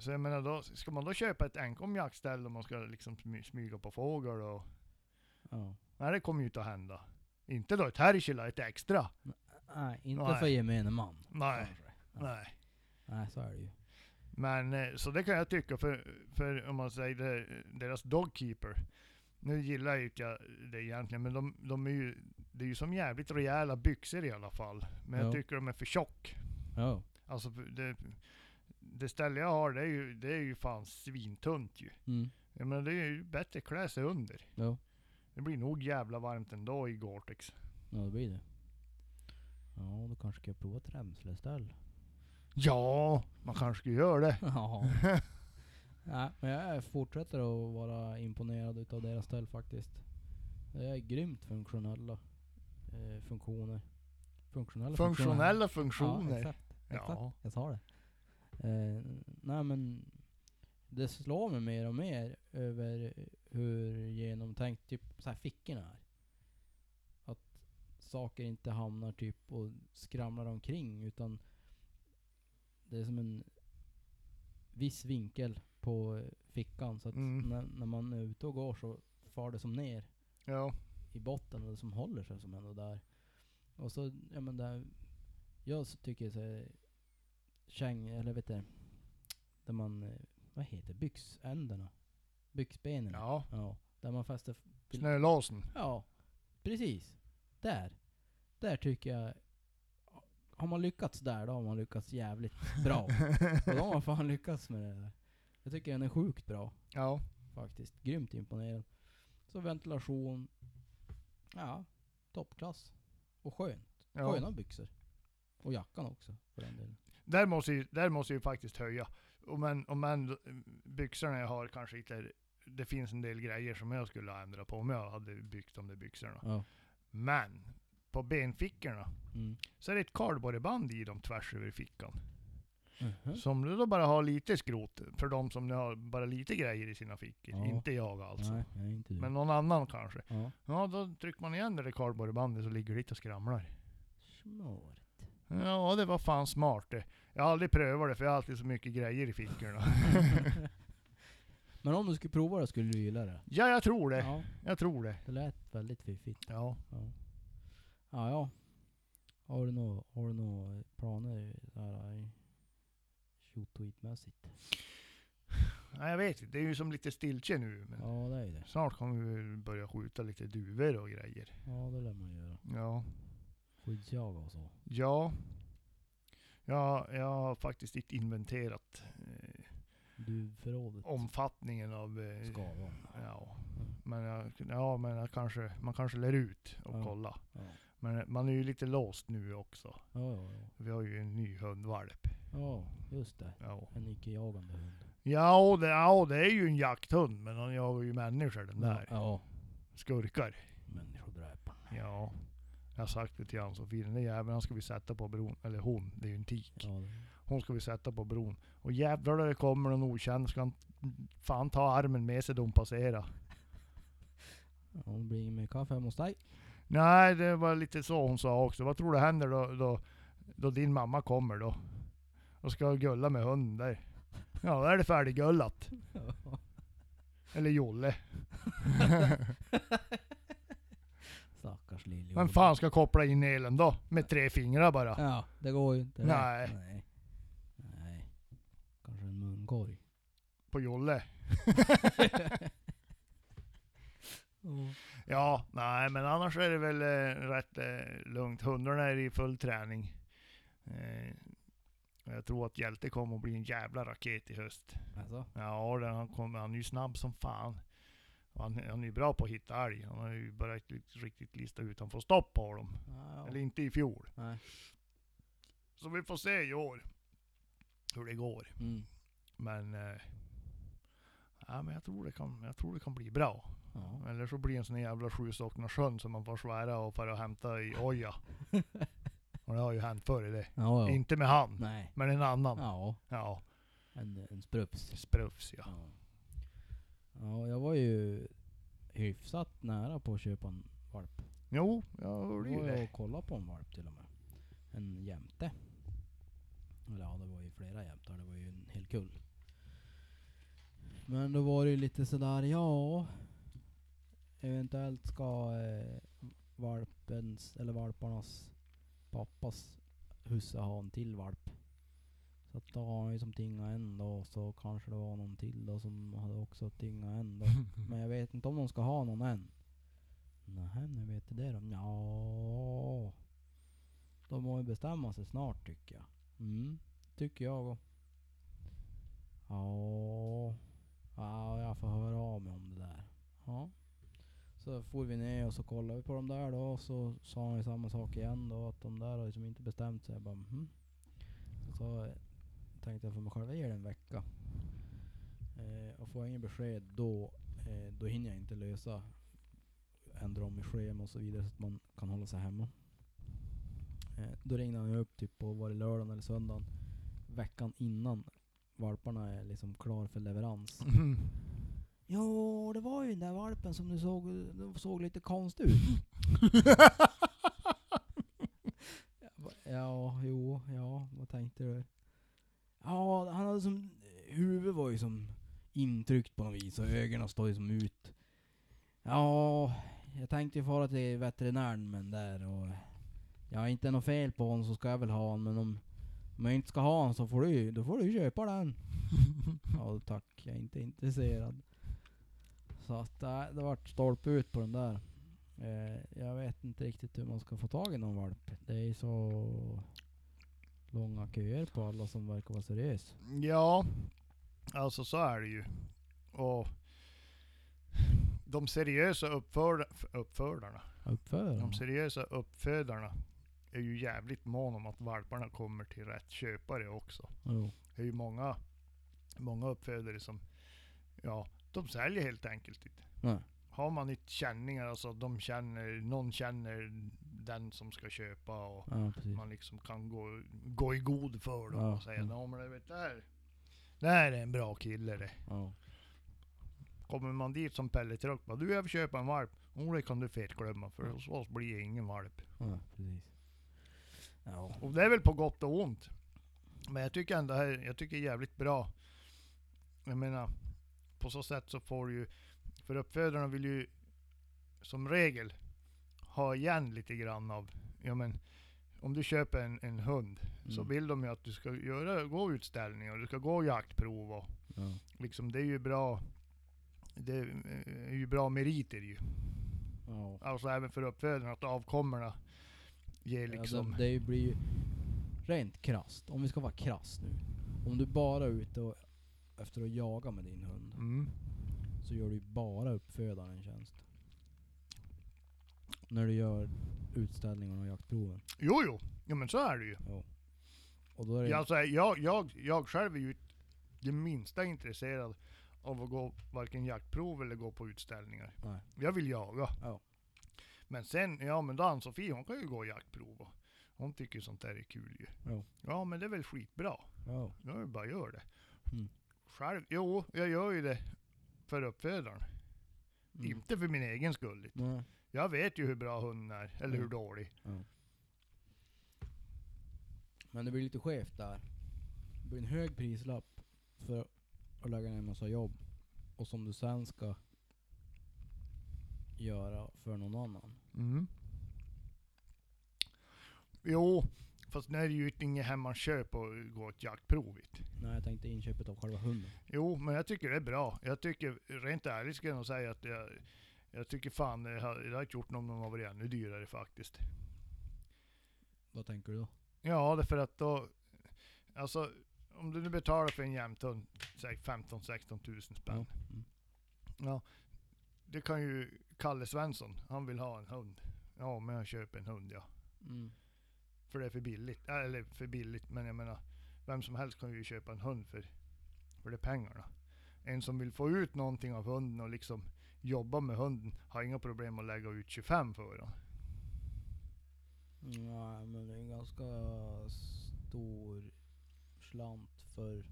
A: Så jag menar, då, ska man då köpa ett enkom jaktställe om man ska liksom smy- smyga på fågel och...
B: Ja.
A: Nej, det kommer ju inte att hända. Inte då ett Härkyla, ett extra.
B: Nej, inte
A: Nej.
B: för gemene man.
A: Nej.
B: kanske. Ja.
A: Nej.
B: Nej, så är det ju.
A: Men eh, så det kan jag tycka, för, för om man säger det, deras dogkeeper. Nu gillar ju inte jag det egentligen, men de, de är ju, det är ju som jävligt rejäla byxor i alla fall. Men jag
B: Ja.
A: tycker de är för tjock.
B: Ja.
A: Alltså för det, det ställe jag har, det är ju, det är ju fan svintunt ju.
B: Mm.
A: Jag menar det är ju bättre att klä sig under.
B: Ja.
A: Det blir nog jävla varmt ändå i Gore-Tex.
B: ja, det blir det. Ja, då kanske ska jag prova ett Remsleställ.
A: Ja, man kanske skulle göra det.
B: Ja. Nej, men jag fortsätter att vara imponerad utav deras ställ faktiskt. Det är grymt funktionella eh, funktioner. Funktionella
A: Funktionella
B: Ja,
A: funktioner.
B: exakt. exakt.
A: Ja.
B: Jag sa det. Eh, nej men det slår mig mer och mer över hur genomtänkt typ så här fickorna är. Att saker inte hamnar typ och skramlar omkring utan det är som en viss vinkel på fickan så att
A: Mm.
B: när, när man är ute och går så far det som ner
A: Ja,
B: i botten och som håller sig som ändå där. Och så, ja men där, jag s- tycker så här, käng, eller vet du, där man, eh, vad heter byxändarna? Byxbenen?
A: ja.
B: ja. Där man fäster, f- Vill-
A: Snölåsen.
B: ja, precis. Där. Där tycker jag, har man lyckats där då har man lyckats jävligt bra. och då har man fan lyckats med det där. Jag tycker den är sjukt bra
A: Ja,
B: faktiskt. Grymt imponerad. Så ventilation. Ja, toppklass. Och skön.
A: ja.
B: Sköna byxor. Och jackan också för den delen.
A: Där måste ju, där måste ju faktiskt höja. Om man, om man, byxorna jag har kanske inte är, det finns en del grejer som jag skulle ha ändrat på om jag hade byggt de där byxorna.
B: Ja.
A: Men, på benfickorna
B: Mm.
A: så är det ett kardborreband i dem tvärs över fickan.
B: Mhm.
A: Så om du då bara har lite skrot, för de som nu har bara lite grejer i sina fickor,
B: Ja.
A: inte jag alltså.
B: Nej, nej, inte du.
A: Men någon annan kanske.
B: ja.
A: Ja, då trycker man igen det där kardborrebandet så ligger det lite och skramlar.
B: Smart.
A: Ja, det var fan smart det. Jag har aldrig prövat det för jag har alltid så mycket grejer i fickorna.
B: Men om du skulle prova det skulle du gilla det?
A: ja, jag tror det.
B: Ja,
A: Jag tror det.
B: det lät väldigt fiffigt.
A: Ja.
B: Ja, ja. ja. Har du några har du nå planer såhär shoot-tweet-mässigt?
A: Nej, jag vet inte. Det är ju som lite stiltje nu. Men
B: Ja, det är ju det.
A: Snart kommer vi väl börja skjuta lite duvor och grejer.
B: Ja, det lär man göra.
A: Ja.
B: Skyddsjaga och så.
A: Ja. Ja, jag har faktiskt inte inventerat eh,
B: Duvförrådet.
A: omfattningen av... Eh,
B: Ska vara.
A: ja. Men, jag, ja, men jag kanske, man kanske lär ut och
B: Ja.
A: kolla.
B: Ja.
A: Men man är ju lite låst nu också.
B: Ja, ja, ja.
A: Vi har ju en ny hundvalp.
B: Ja, just det.
A: Ja.
B: En icke-jagande hund.
A: Ja och det, ja, och det är ju en jakthund, men han jagar ju människor den där.
B: Ja.
A: Skurkar.
B: Människodräparen.
A: Ja. Jag har sagt det till han Sofie, den där jäveln han ska vi sätta på bron. Eller hon, det är ju en tik.
B: Ja, det.
A: Hon ska vi sätta på bron. Och jävlar när det kommer någon okänd ska han fan ta armen med sig då hon passerar.
B: Ja, det blir inget mer kaffe hemma hos dig.
A: Nej, det var lite så hon sa också. Vad tror du händer då, då, då din mamma kommer då? Och ska gulla med hunden där. Ja, då är det färdiggullat. Eller Jolle.
B: Stackars lill
A: Vem fan ska koppla in elen då? Med tre fingrar bara.
B: Ja, det går ju inte.
A: Nej.
B: Nej. Nej. Kanske en munkorg.
A: På Jolle.
B: Ja.
A: Ja, nej men annars är det väl eh, rätt eh, lugnt. Hundarna är i full träning. Eh, och jag tror att Hjälte kommer att bli en jävla raket i höst.
B: Alltså.
A: Ja, den, han, kommer, han är ju snabb som fan. Och Han, han är ju bra på att hitta älg. Han har ju börjat li- riktigt lista ut. Han får stopp på dem.
B: Ja,
A: Eller
B: ja.
A: inte i fjol.
B: Nej.
A: Så vi får se i år hur det går.
B: Mm.
A: Men, eh, ja, men jag, tror det kan, jag tror det kan bli bra.
B: Ja.
A: Eller så blir det en sån jävla sjösocknarsjön som man får svära och fara och hämta i oja. Och det har ju hänt förr i det.
B: Ja, ja.
A: Inte med han,
B: Nej.
A: men en annan. Ja,
B: Ja. En, en sprupps.
A: sprufs ja.
B: Ja. ja, jag var ju hyfsat nära på att köpa en valp.
A: Jo, jag hörde ju
B: var jag
A: det.
B: och kollade på en valp till och med. En jämte. Eller ja, det var ju flera jämtar. Det var ju en hel kull. Men då var det ju lite sådär, ja. Eventuellt ska eh, valpens, eller valparnas pappas husse ha en till valp. Så att då har han ju som tingat en då, och så kanske det var någon till då som hade också tingat en då. Men jag vet inte om de ska ha någon än. Nej, nu vet du det då? Ja. De må ju bestämma sig snart tycker jag. Mm, tycker jag och. Ja. Ja, jag får höra av mig om det där. Ja. Så for vi ner och så kollade vi på de där då och så sa han ju samma sak igen då att de där har liksom inte bestämt sig. Jag bara mhm. Så, så tänkte jag för mig själv, jag ger det en vecka. Eh, och får jag inget besked då, eh, då hinner jag inte lösa ändra om i schema och så vidare så att man kan hålla sig hemma. Eh, då ringde han ju upp typ på, var det lördagen eller söndagen? veckan innan valparna är liksom klar för leverans.
A: Mhm.
B: Ja, det var ju den där valpen som du såg, den såg lite konstig ut. Jag bara, ja, jo, ja, vad tänkte du? Ja, han hade som, huvudet var ju som intryckt på något vis och ögonen stod ju som ut. Ja, jag tänkte ju fara till veterinären men där och... Jag har inte något fel på honom så ska jag väl ha honom men om, om jag inte ska ha honom så får du ju- då får du ju köpa den. ja tack, jag är inte intresserad. Så att nej, det vart stolpe ut på den där. Eh, jag vet inte riktigt hur man ska få tag i någon valp. Det är ju så långa köer på alla som verkar vara seriös.
A: Ja, alltså så är det ju. Och de seriösa uppför, uppfödarna,
B: Uppförarna.
A: de seriösa uppfödarna är ju jävligt mån om att valparna kommer till rätt köpare också.
B: Jo.
A: Det är ju många, många uppfödare som, ja, de säljer helt enkelt inte.
B: Nej.
A: Har man inte känningar, alltså de känner, någon känner den som ska köpa och
B: Ja precis.
A: man liksom kan gå, gå i god för dem
B: Ja, Mm.
A: och säga
B: ja.
A: ja men det vet där, där är en bra kille det.
B: Ja.
A: Kommer man dit som pelletruck bara du jag vill köpa en valp. Oh, det kan du fetglömma
B: Mm.
A: för hos oss blir det ingen valp.
B: ja, precis. Ja.
A: Och det är väl på gott och ont. Men jag tycker ändå här, jag tycker det är jävligt bra. Jag menar, på så sätt så får du ju, för uppfödarna vill ju som regel ha igen lite grann av, ja men om du köper en, en hund så
B: Mm.
A: vill de ju att du ska göra, gå utställningar och du ska gå jaktprov och
B: Ja.
A: liksom det är ju bra, det är eh, ju bra meriter ju.
B: ja.
A: Alltså även för uppfödarna, att avkommorna ger liksom...
B: Alltså, det blir ju rent krasst, om vi ska vara krass nu. Om du bara är ute och, efter att jaga med din hund,
A: Mm.
B: så gör du ju bara uppfödaren en tjänst. När du gör utställningarna och jaktproven.
A: Jo, jo. Ja, men så är det ju.
B: Ja. Och då är det,
A: Jag, alltså, jag, jag, jag själv är ju det minsta intresserad av att gå varken jaktprov eller gå på utställningar.
B: Nej.
A: Jag vill jaga.
B: Ja.
A: Men sen, ja men då Ann-Sofie hon kan ju gå jaktprov och hon tycker sånt där är kul ju.
B: Ja.
A: ja men det är väl skitbra.
B: ja.
A: Jag vill bara gör det.
B: Mm.
A: Själv, jo jag gör ju det för uppfödaren.
B: Mm.
A: Inte för min egen skull.
B: Nej.
A: Jag vet ju hur bra hunden är, eller
B: Mm.
A: hur dålig.
B: Men det blir lite skevt där. Det blir en hög prislapp för att lägga ner en massa jobb. Och som du sen ska göra för någon annan.
A: Mm. Jo, fast nu är det ju inget hemmaköp att gå ett jaktprov i.
B: Nej, jag tänkte inköpet av själva hunden.
A: Jo, men jag tycker det är bra. Jag tycker, rent ärligt ska jag nog säga att jag, jag tycker fan det har, det har inte gjort någon någon har varit ännu dyrare faktiskt.
B: Vad tänker du då?
A: Ja, därför att då, alltså om du nu betalar för en jämthund, säg 15-16 tusen spänn.
B: Mm.
A: Ja, det kan ju Kalle Svensson, han vill ha en hund. Ja, men jag köper en hund ja.
B: Mm.
A: För det är för billigt. Äh, Eller för billigt, men jag menar. Vem som helst kan ju köpa en hund för, för de pengarna. En som vill få ut någonting av hunden och liksom jobba med hunden har inga problem att lägga ut 25 för den.
B: Nej, men det är en ganska stor slant för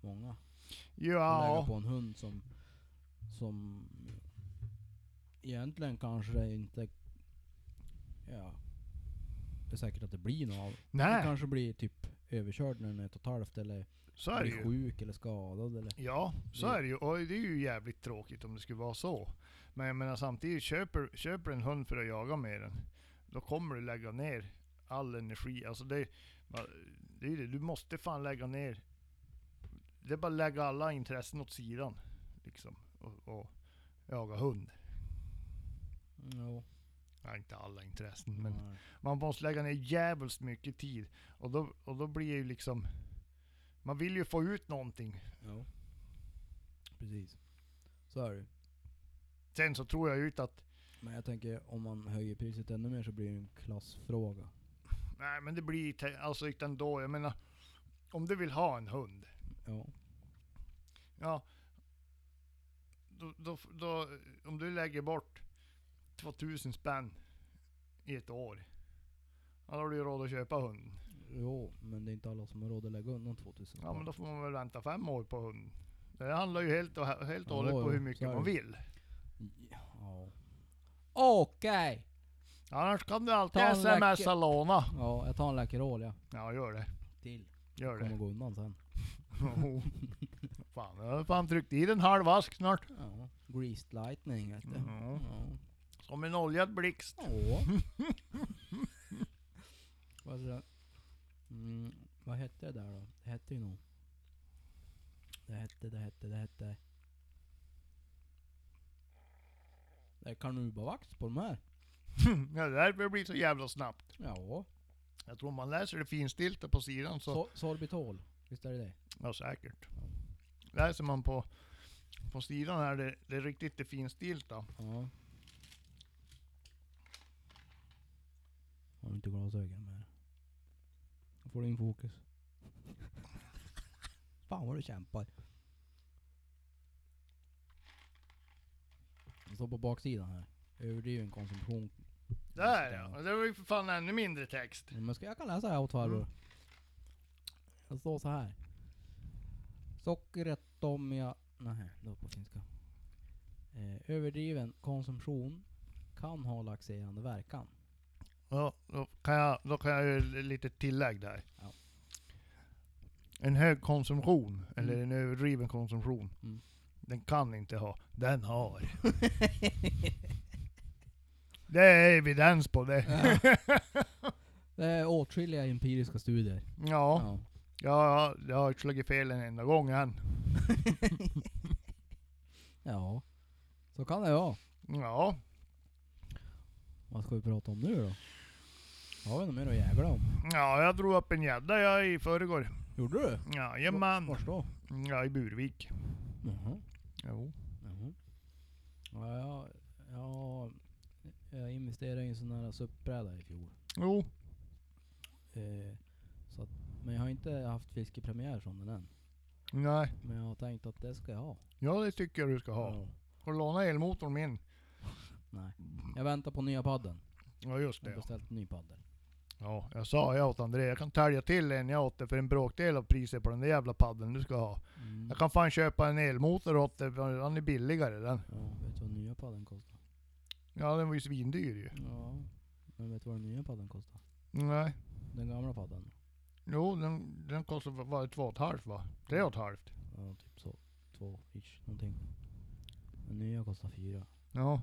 B: många. Att lägga
A: Ja,
B: på en hund som, som egentligen kanske inte... Ja. Det är säkert att det blir något av. Den
A: nej,
B: kanske blir typ överkörd när den är ett och ett halvt eller
A: så är det
B: blir
A: ju.
B: sjuk eller skadad eller...
A: Ja, så
B: Det-
A: är det ju. Och det är ju jävligt tråkigt om det skulle vara så. Men jag menar samtidigt, köper, köper en hund för att jaga med den, då kommer du lägga ner all energi. Alltså det, va- det är ju det, du måste fan lägga ner. Det är bara att lägga alla intressen åt sidan. Liksom. Och, och jaga hund.
B: Jo.
A: Ja, inte alla intressen, men
B: Nej.
A: man måste lägga ner jävligt mycket tid. Och då, och då blir det ju liksom, man vill ju få ut någonting
B: Jo. Precis. Så är det ju.
A: Sen så tror jag ju inte att,
B: Men jag tänker om man höjer priset ännu mer så blir det en klassfråga.
A: nej men det blir te- alltså inte ändå. Jag menar, om du vill ha en hund,
B: Ja.
A: ja. Då, då, då, om du lägger bort 2000 spänn i ett år, ja, då har du ju råd att köpa hunden.
B: Jo, men det är inte alla som har råd att lägga undan 2000
A: Ja men
B: spänn.
A: då får man väl vänta fem år på hund. Det handlar ju helt och helt och hållet
B: Ja,
A: på
B: jo,
A: hur
B: så
A: mycket
B: är
A: man
B: det.
A: vill.
B: Ja. Okej!
A: Annars kan du
B: Ta
A: alltid
B: en läcker.
A: smsa låna.
B: Ja, jag tar en Läkerol ja.
A: Ja gör det.
B: Till.
A: Gör
B: Kommer
A: det.
B: gå undan sen.
A: Jo. fan, jag har fan tryckt i en halv ask snart.
B: Ja. Greased Lightning vet du.
A: Ja.
B: Ja.
A: Som en oljad blixt.
B: Ja. vad, är det? Mm, vad hette det där då? Det hette ju nog... Det hette, det hette, det hette... Det är karnubavax på de här.
A: ja, det är därför det blir så jävla snabbt.
B: Ja.
A: Jag tror man läser det finstilta på sidan så...
B: So- sorbitol. Visst är det det?
A: Ja säkert. Läser man på, på sidan här, det, det är riktigt det finstilta.
B: Ja. Har du inte glasögon med dig? Då får du in fokus. Fan vad du kämpar. Det står på baksidan här. Överdriven konsumtion.
A: Där ja! Det var ju för fan ännu mindre text.
B: Men ska, jag kan läsa här åt farbror.
A: Mm.
B: Det står så här. Sockret om jag... Nej, det var på finska. Eh, överdriven konsumtion kan ha laxerande verkan.
A: Ja, då, kan jag, då kan jag göra lite tillägg där.
B: Ja.
A: En hög konsumtion, eller en överdriven konsumtion,
B: Mm.
A: den kan inte ha, den har. det är evidens på det.
B: Ja. Det är åtskilliga empiriska studier.
A: Ja, ja, jag har slagit fel en enda gång än.
B: Ja. Så kan det vara.
A: Ja,
B: Vad ska vi prata om nu då? Har vi något mer att jävla om?
A: ja jag drog upp en gädda jag i förrgår.
B: Gjorde du?
A: Jajamän.
B: Vars då?
A: Ja, i Burvik.
B: Jaha.
A: Jo.
B: Jaha. Ja, jag, jag, jag investerade i en sån här suppbräda i fjol.
A: Jo.
B: Eh, så att, men jag har inte haft fiskepremiär från den än.
A: Nej.
B: Men jag har tänkt att det ska jag ha.
A: Ja, det tycker jag du ska ha.
B: Ja.
A: Får du låna elmotorn min?
B: Nej. Jag väntar på nya paddeln.
A: Ja, just
B: Jag
A: det.
B: har beställt en ny paddel.
A: Ja, jag sa jag åt André, jag kan tälja till en jag åt dig för en bråkdel av priset på den där jävla paddeln du ska ha.
B: Mm.
A: Jag kan fan köpa en elmotor åt dig, för den är billigare den.
B: Ja, vet du vad nya paddeln kostar?
A: Ja, den var ju svindyr ju.
B: Ja. Men vet du vad den nya paddeln kostar?
A: Nej.
B: Den gamla paddeln.
A: Jo, den, den kostar, vad var det, två och ett halvt va? Tre och ett halvt?
B: Ja, typ så. Två ish, någonting. Den nya kostar fyra.
A: Ja.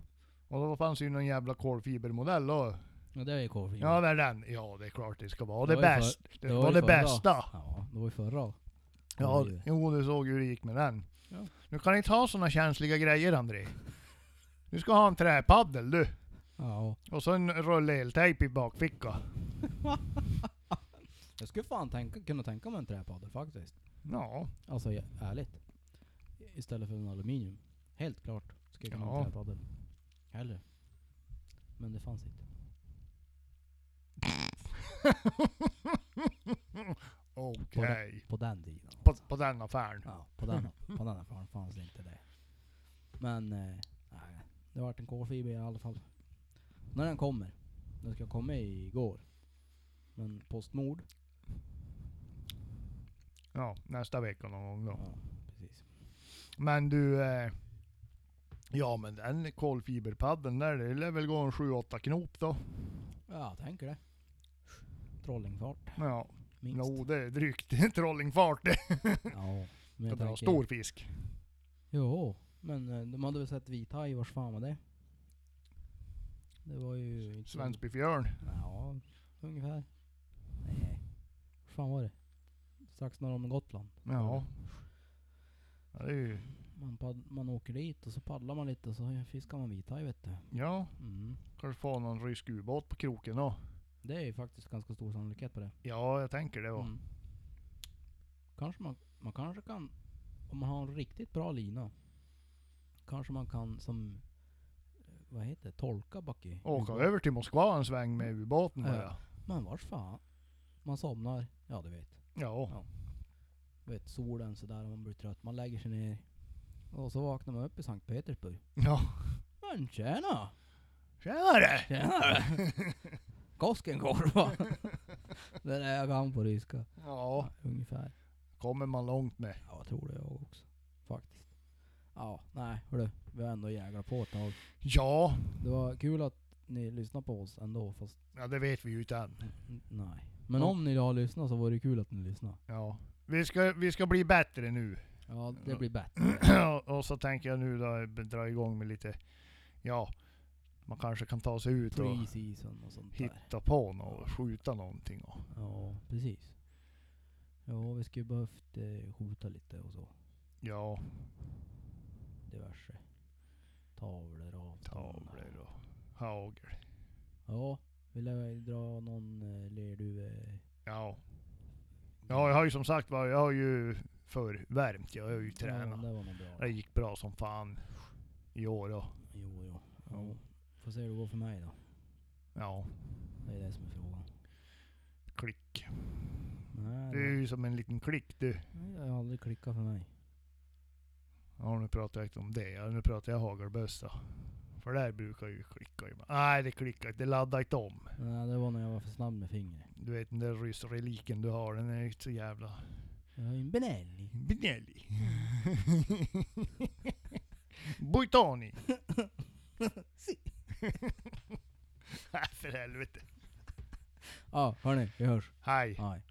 A: Och då fanns ju någon jävla kolfibermodell då.
B: Ja, det är ju korvfingret.
A: Ja, det är den. Ja, det är klart det ska vara det,
B: Det var ju för-
A: bästa. Det,
B: det var
A: var det
B: ju för idag.
A: bästa.
B: Ja, det var ju förra.
A: Ja,
B: det var ju-
A: jo du såg hur det gick med den.
B: Ja.
A: Du kan inte ha såna känsliga grejer André. Du ska ha en träpaddel du.
B: ja.
A: Och så en rulle eltejp i bakficka.
B: Jag skulle fan tänka, kunna tänka mig en träpaddel faktiskt.
A: Ja,
B: Alltså ja, ärligt. Istället för en aluminium. Helt klart. Ska jag kunna
A: Ja.
B: en träpaddel. Hellre. Men det fanns inte.
A: okej.
B: På den tiden. alltså.
A: På, på den affären.
B: Ja, på den, på den affären fanns det inte det. Men eh, nej, det har varit en kolfiber i alla fall. När den kommer. Den ska komma igår. Men Postnord.
A: Ja, nästa vecka någon gång då.
B: Ja, precis.
A: Men du... Eh, ja men den kolfiberpaddeln där, det lär väl gå en 7-8 knop då.
B: Ja, jag tänker det. Trollingfart.
A: Ja,
B: Minst.
A: jo det är drygt. Trollingfart det.
B: Ja. Men
A: Det
B: jag
A: var
B: tänker,
A: stor fisk.
B: Jo, men eh, de hade väl sett vithaj, vars fan var det? Det var ju... inte-
A: Svensbyfjörn.
B: Ja, ungefär. Nej. Vart fan var det? Strax norr om Gotland.
A: Ja.
B: Mm.
A: ja det är ju,
B: Man, pad- man åker dit och så paddlar man lite och så fiskar man vithaj vet du.
A: ja,
B: Mm.
A: kanske få någon rysk ubåt på kroken då.
B: Det är ju faktiskt ganska stor sannolikhet på det.
A: Ja, jag tänker det. va.
B: Mm. Kanske man, man kanske kan, om man har en riktigt bra lina, kanske man kan som, eh, vad heter det, tolka Bucky.
A: Åka
B: Ubåt. Mm.
A: över till Moskva en sväng med ubåten
B: Ja.
A: bara.
B: Men vars fan? Man somnar, ja du vet.
A: Ja.
B: Du vet solen sådär, och man blir trött, man lägger sig ner. Och så vaknar man upp i Sankt Petersburg.
A: Ja.
B: Men tjena!
A: Tjenare!
B: Tjenare! Koskenkorva! Det är jag kan på ryska.
A: Ja,
B: Ungefär.
A: kommer man långt med.
B: Ja, jag tror det jag också. Faktiskt. Ja, nej hörru. Vi har ändå jäglat på ett tag.
A: Ja,
B: Det var kul att ni lyssnade på oss ändå fast
A: ja det vet vi ju inte än.
B: n- nej. Men
A: Ja.
B: om ni har lyssnat så vore det kul att ni lyssnade.
A: Ja. Vi, ska, vi ska bli bättre nu.
B: Ja, det
A: Ja.
B: blir bättre.
A: och så tänker jag nu då dra igång med lite, ja, man kanske kan ta sig ut och
B: Pre-season och sånt där.
A: hitta på något och skjuta någonting. Och.
B: Ja, precis. Ja, vi skulle behövt eh, skjuta lite och så.
A: Ja,
B: Diverse. Tavlor och
A: tavlor och hagel.
B: Ja, vill jag dra någon eh, lerduve?
A: Ja. ja, jag har ju som sagt var, jag har ju förvärmt, jag har ju tränat.
B: Ja, det var nog bra.
A: Det gick bra som fan i år. Och,
B: Jo, jo.
A: Ja.
B: Ja. Får se hur det går för mig då.
A: ja,
B: Det är det som är frågan.
A: klick.
B: Nej,
A: Du är
B: det,
A: ju som en liten klick du.
B: nej, jag har aldrig klickat för mig.
A: Ja, nu pratar jag inte om det. Ja, nu pratar jag hagelbössa. För där brukar jag ju klicka ibland. Nej, det klickar inte. Det laddar inte om.
B: Nej, det var när jag var för snabb med fingret.
A: Du vet den där ryssreliken du har, den är ju inte så jävla
B: Jag har ju en Benelli.
A: gnällig. Buitoni! Nej, för helvete. Ah,
B: Ja, hörni. Vi hörs.
A: Hej!
B: Hej.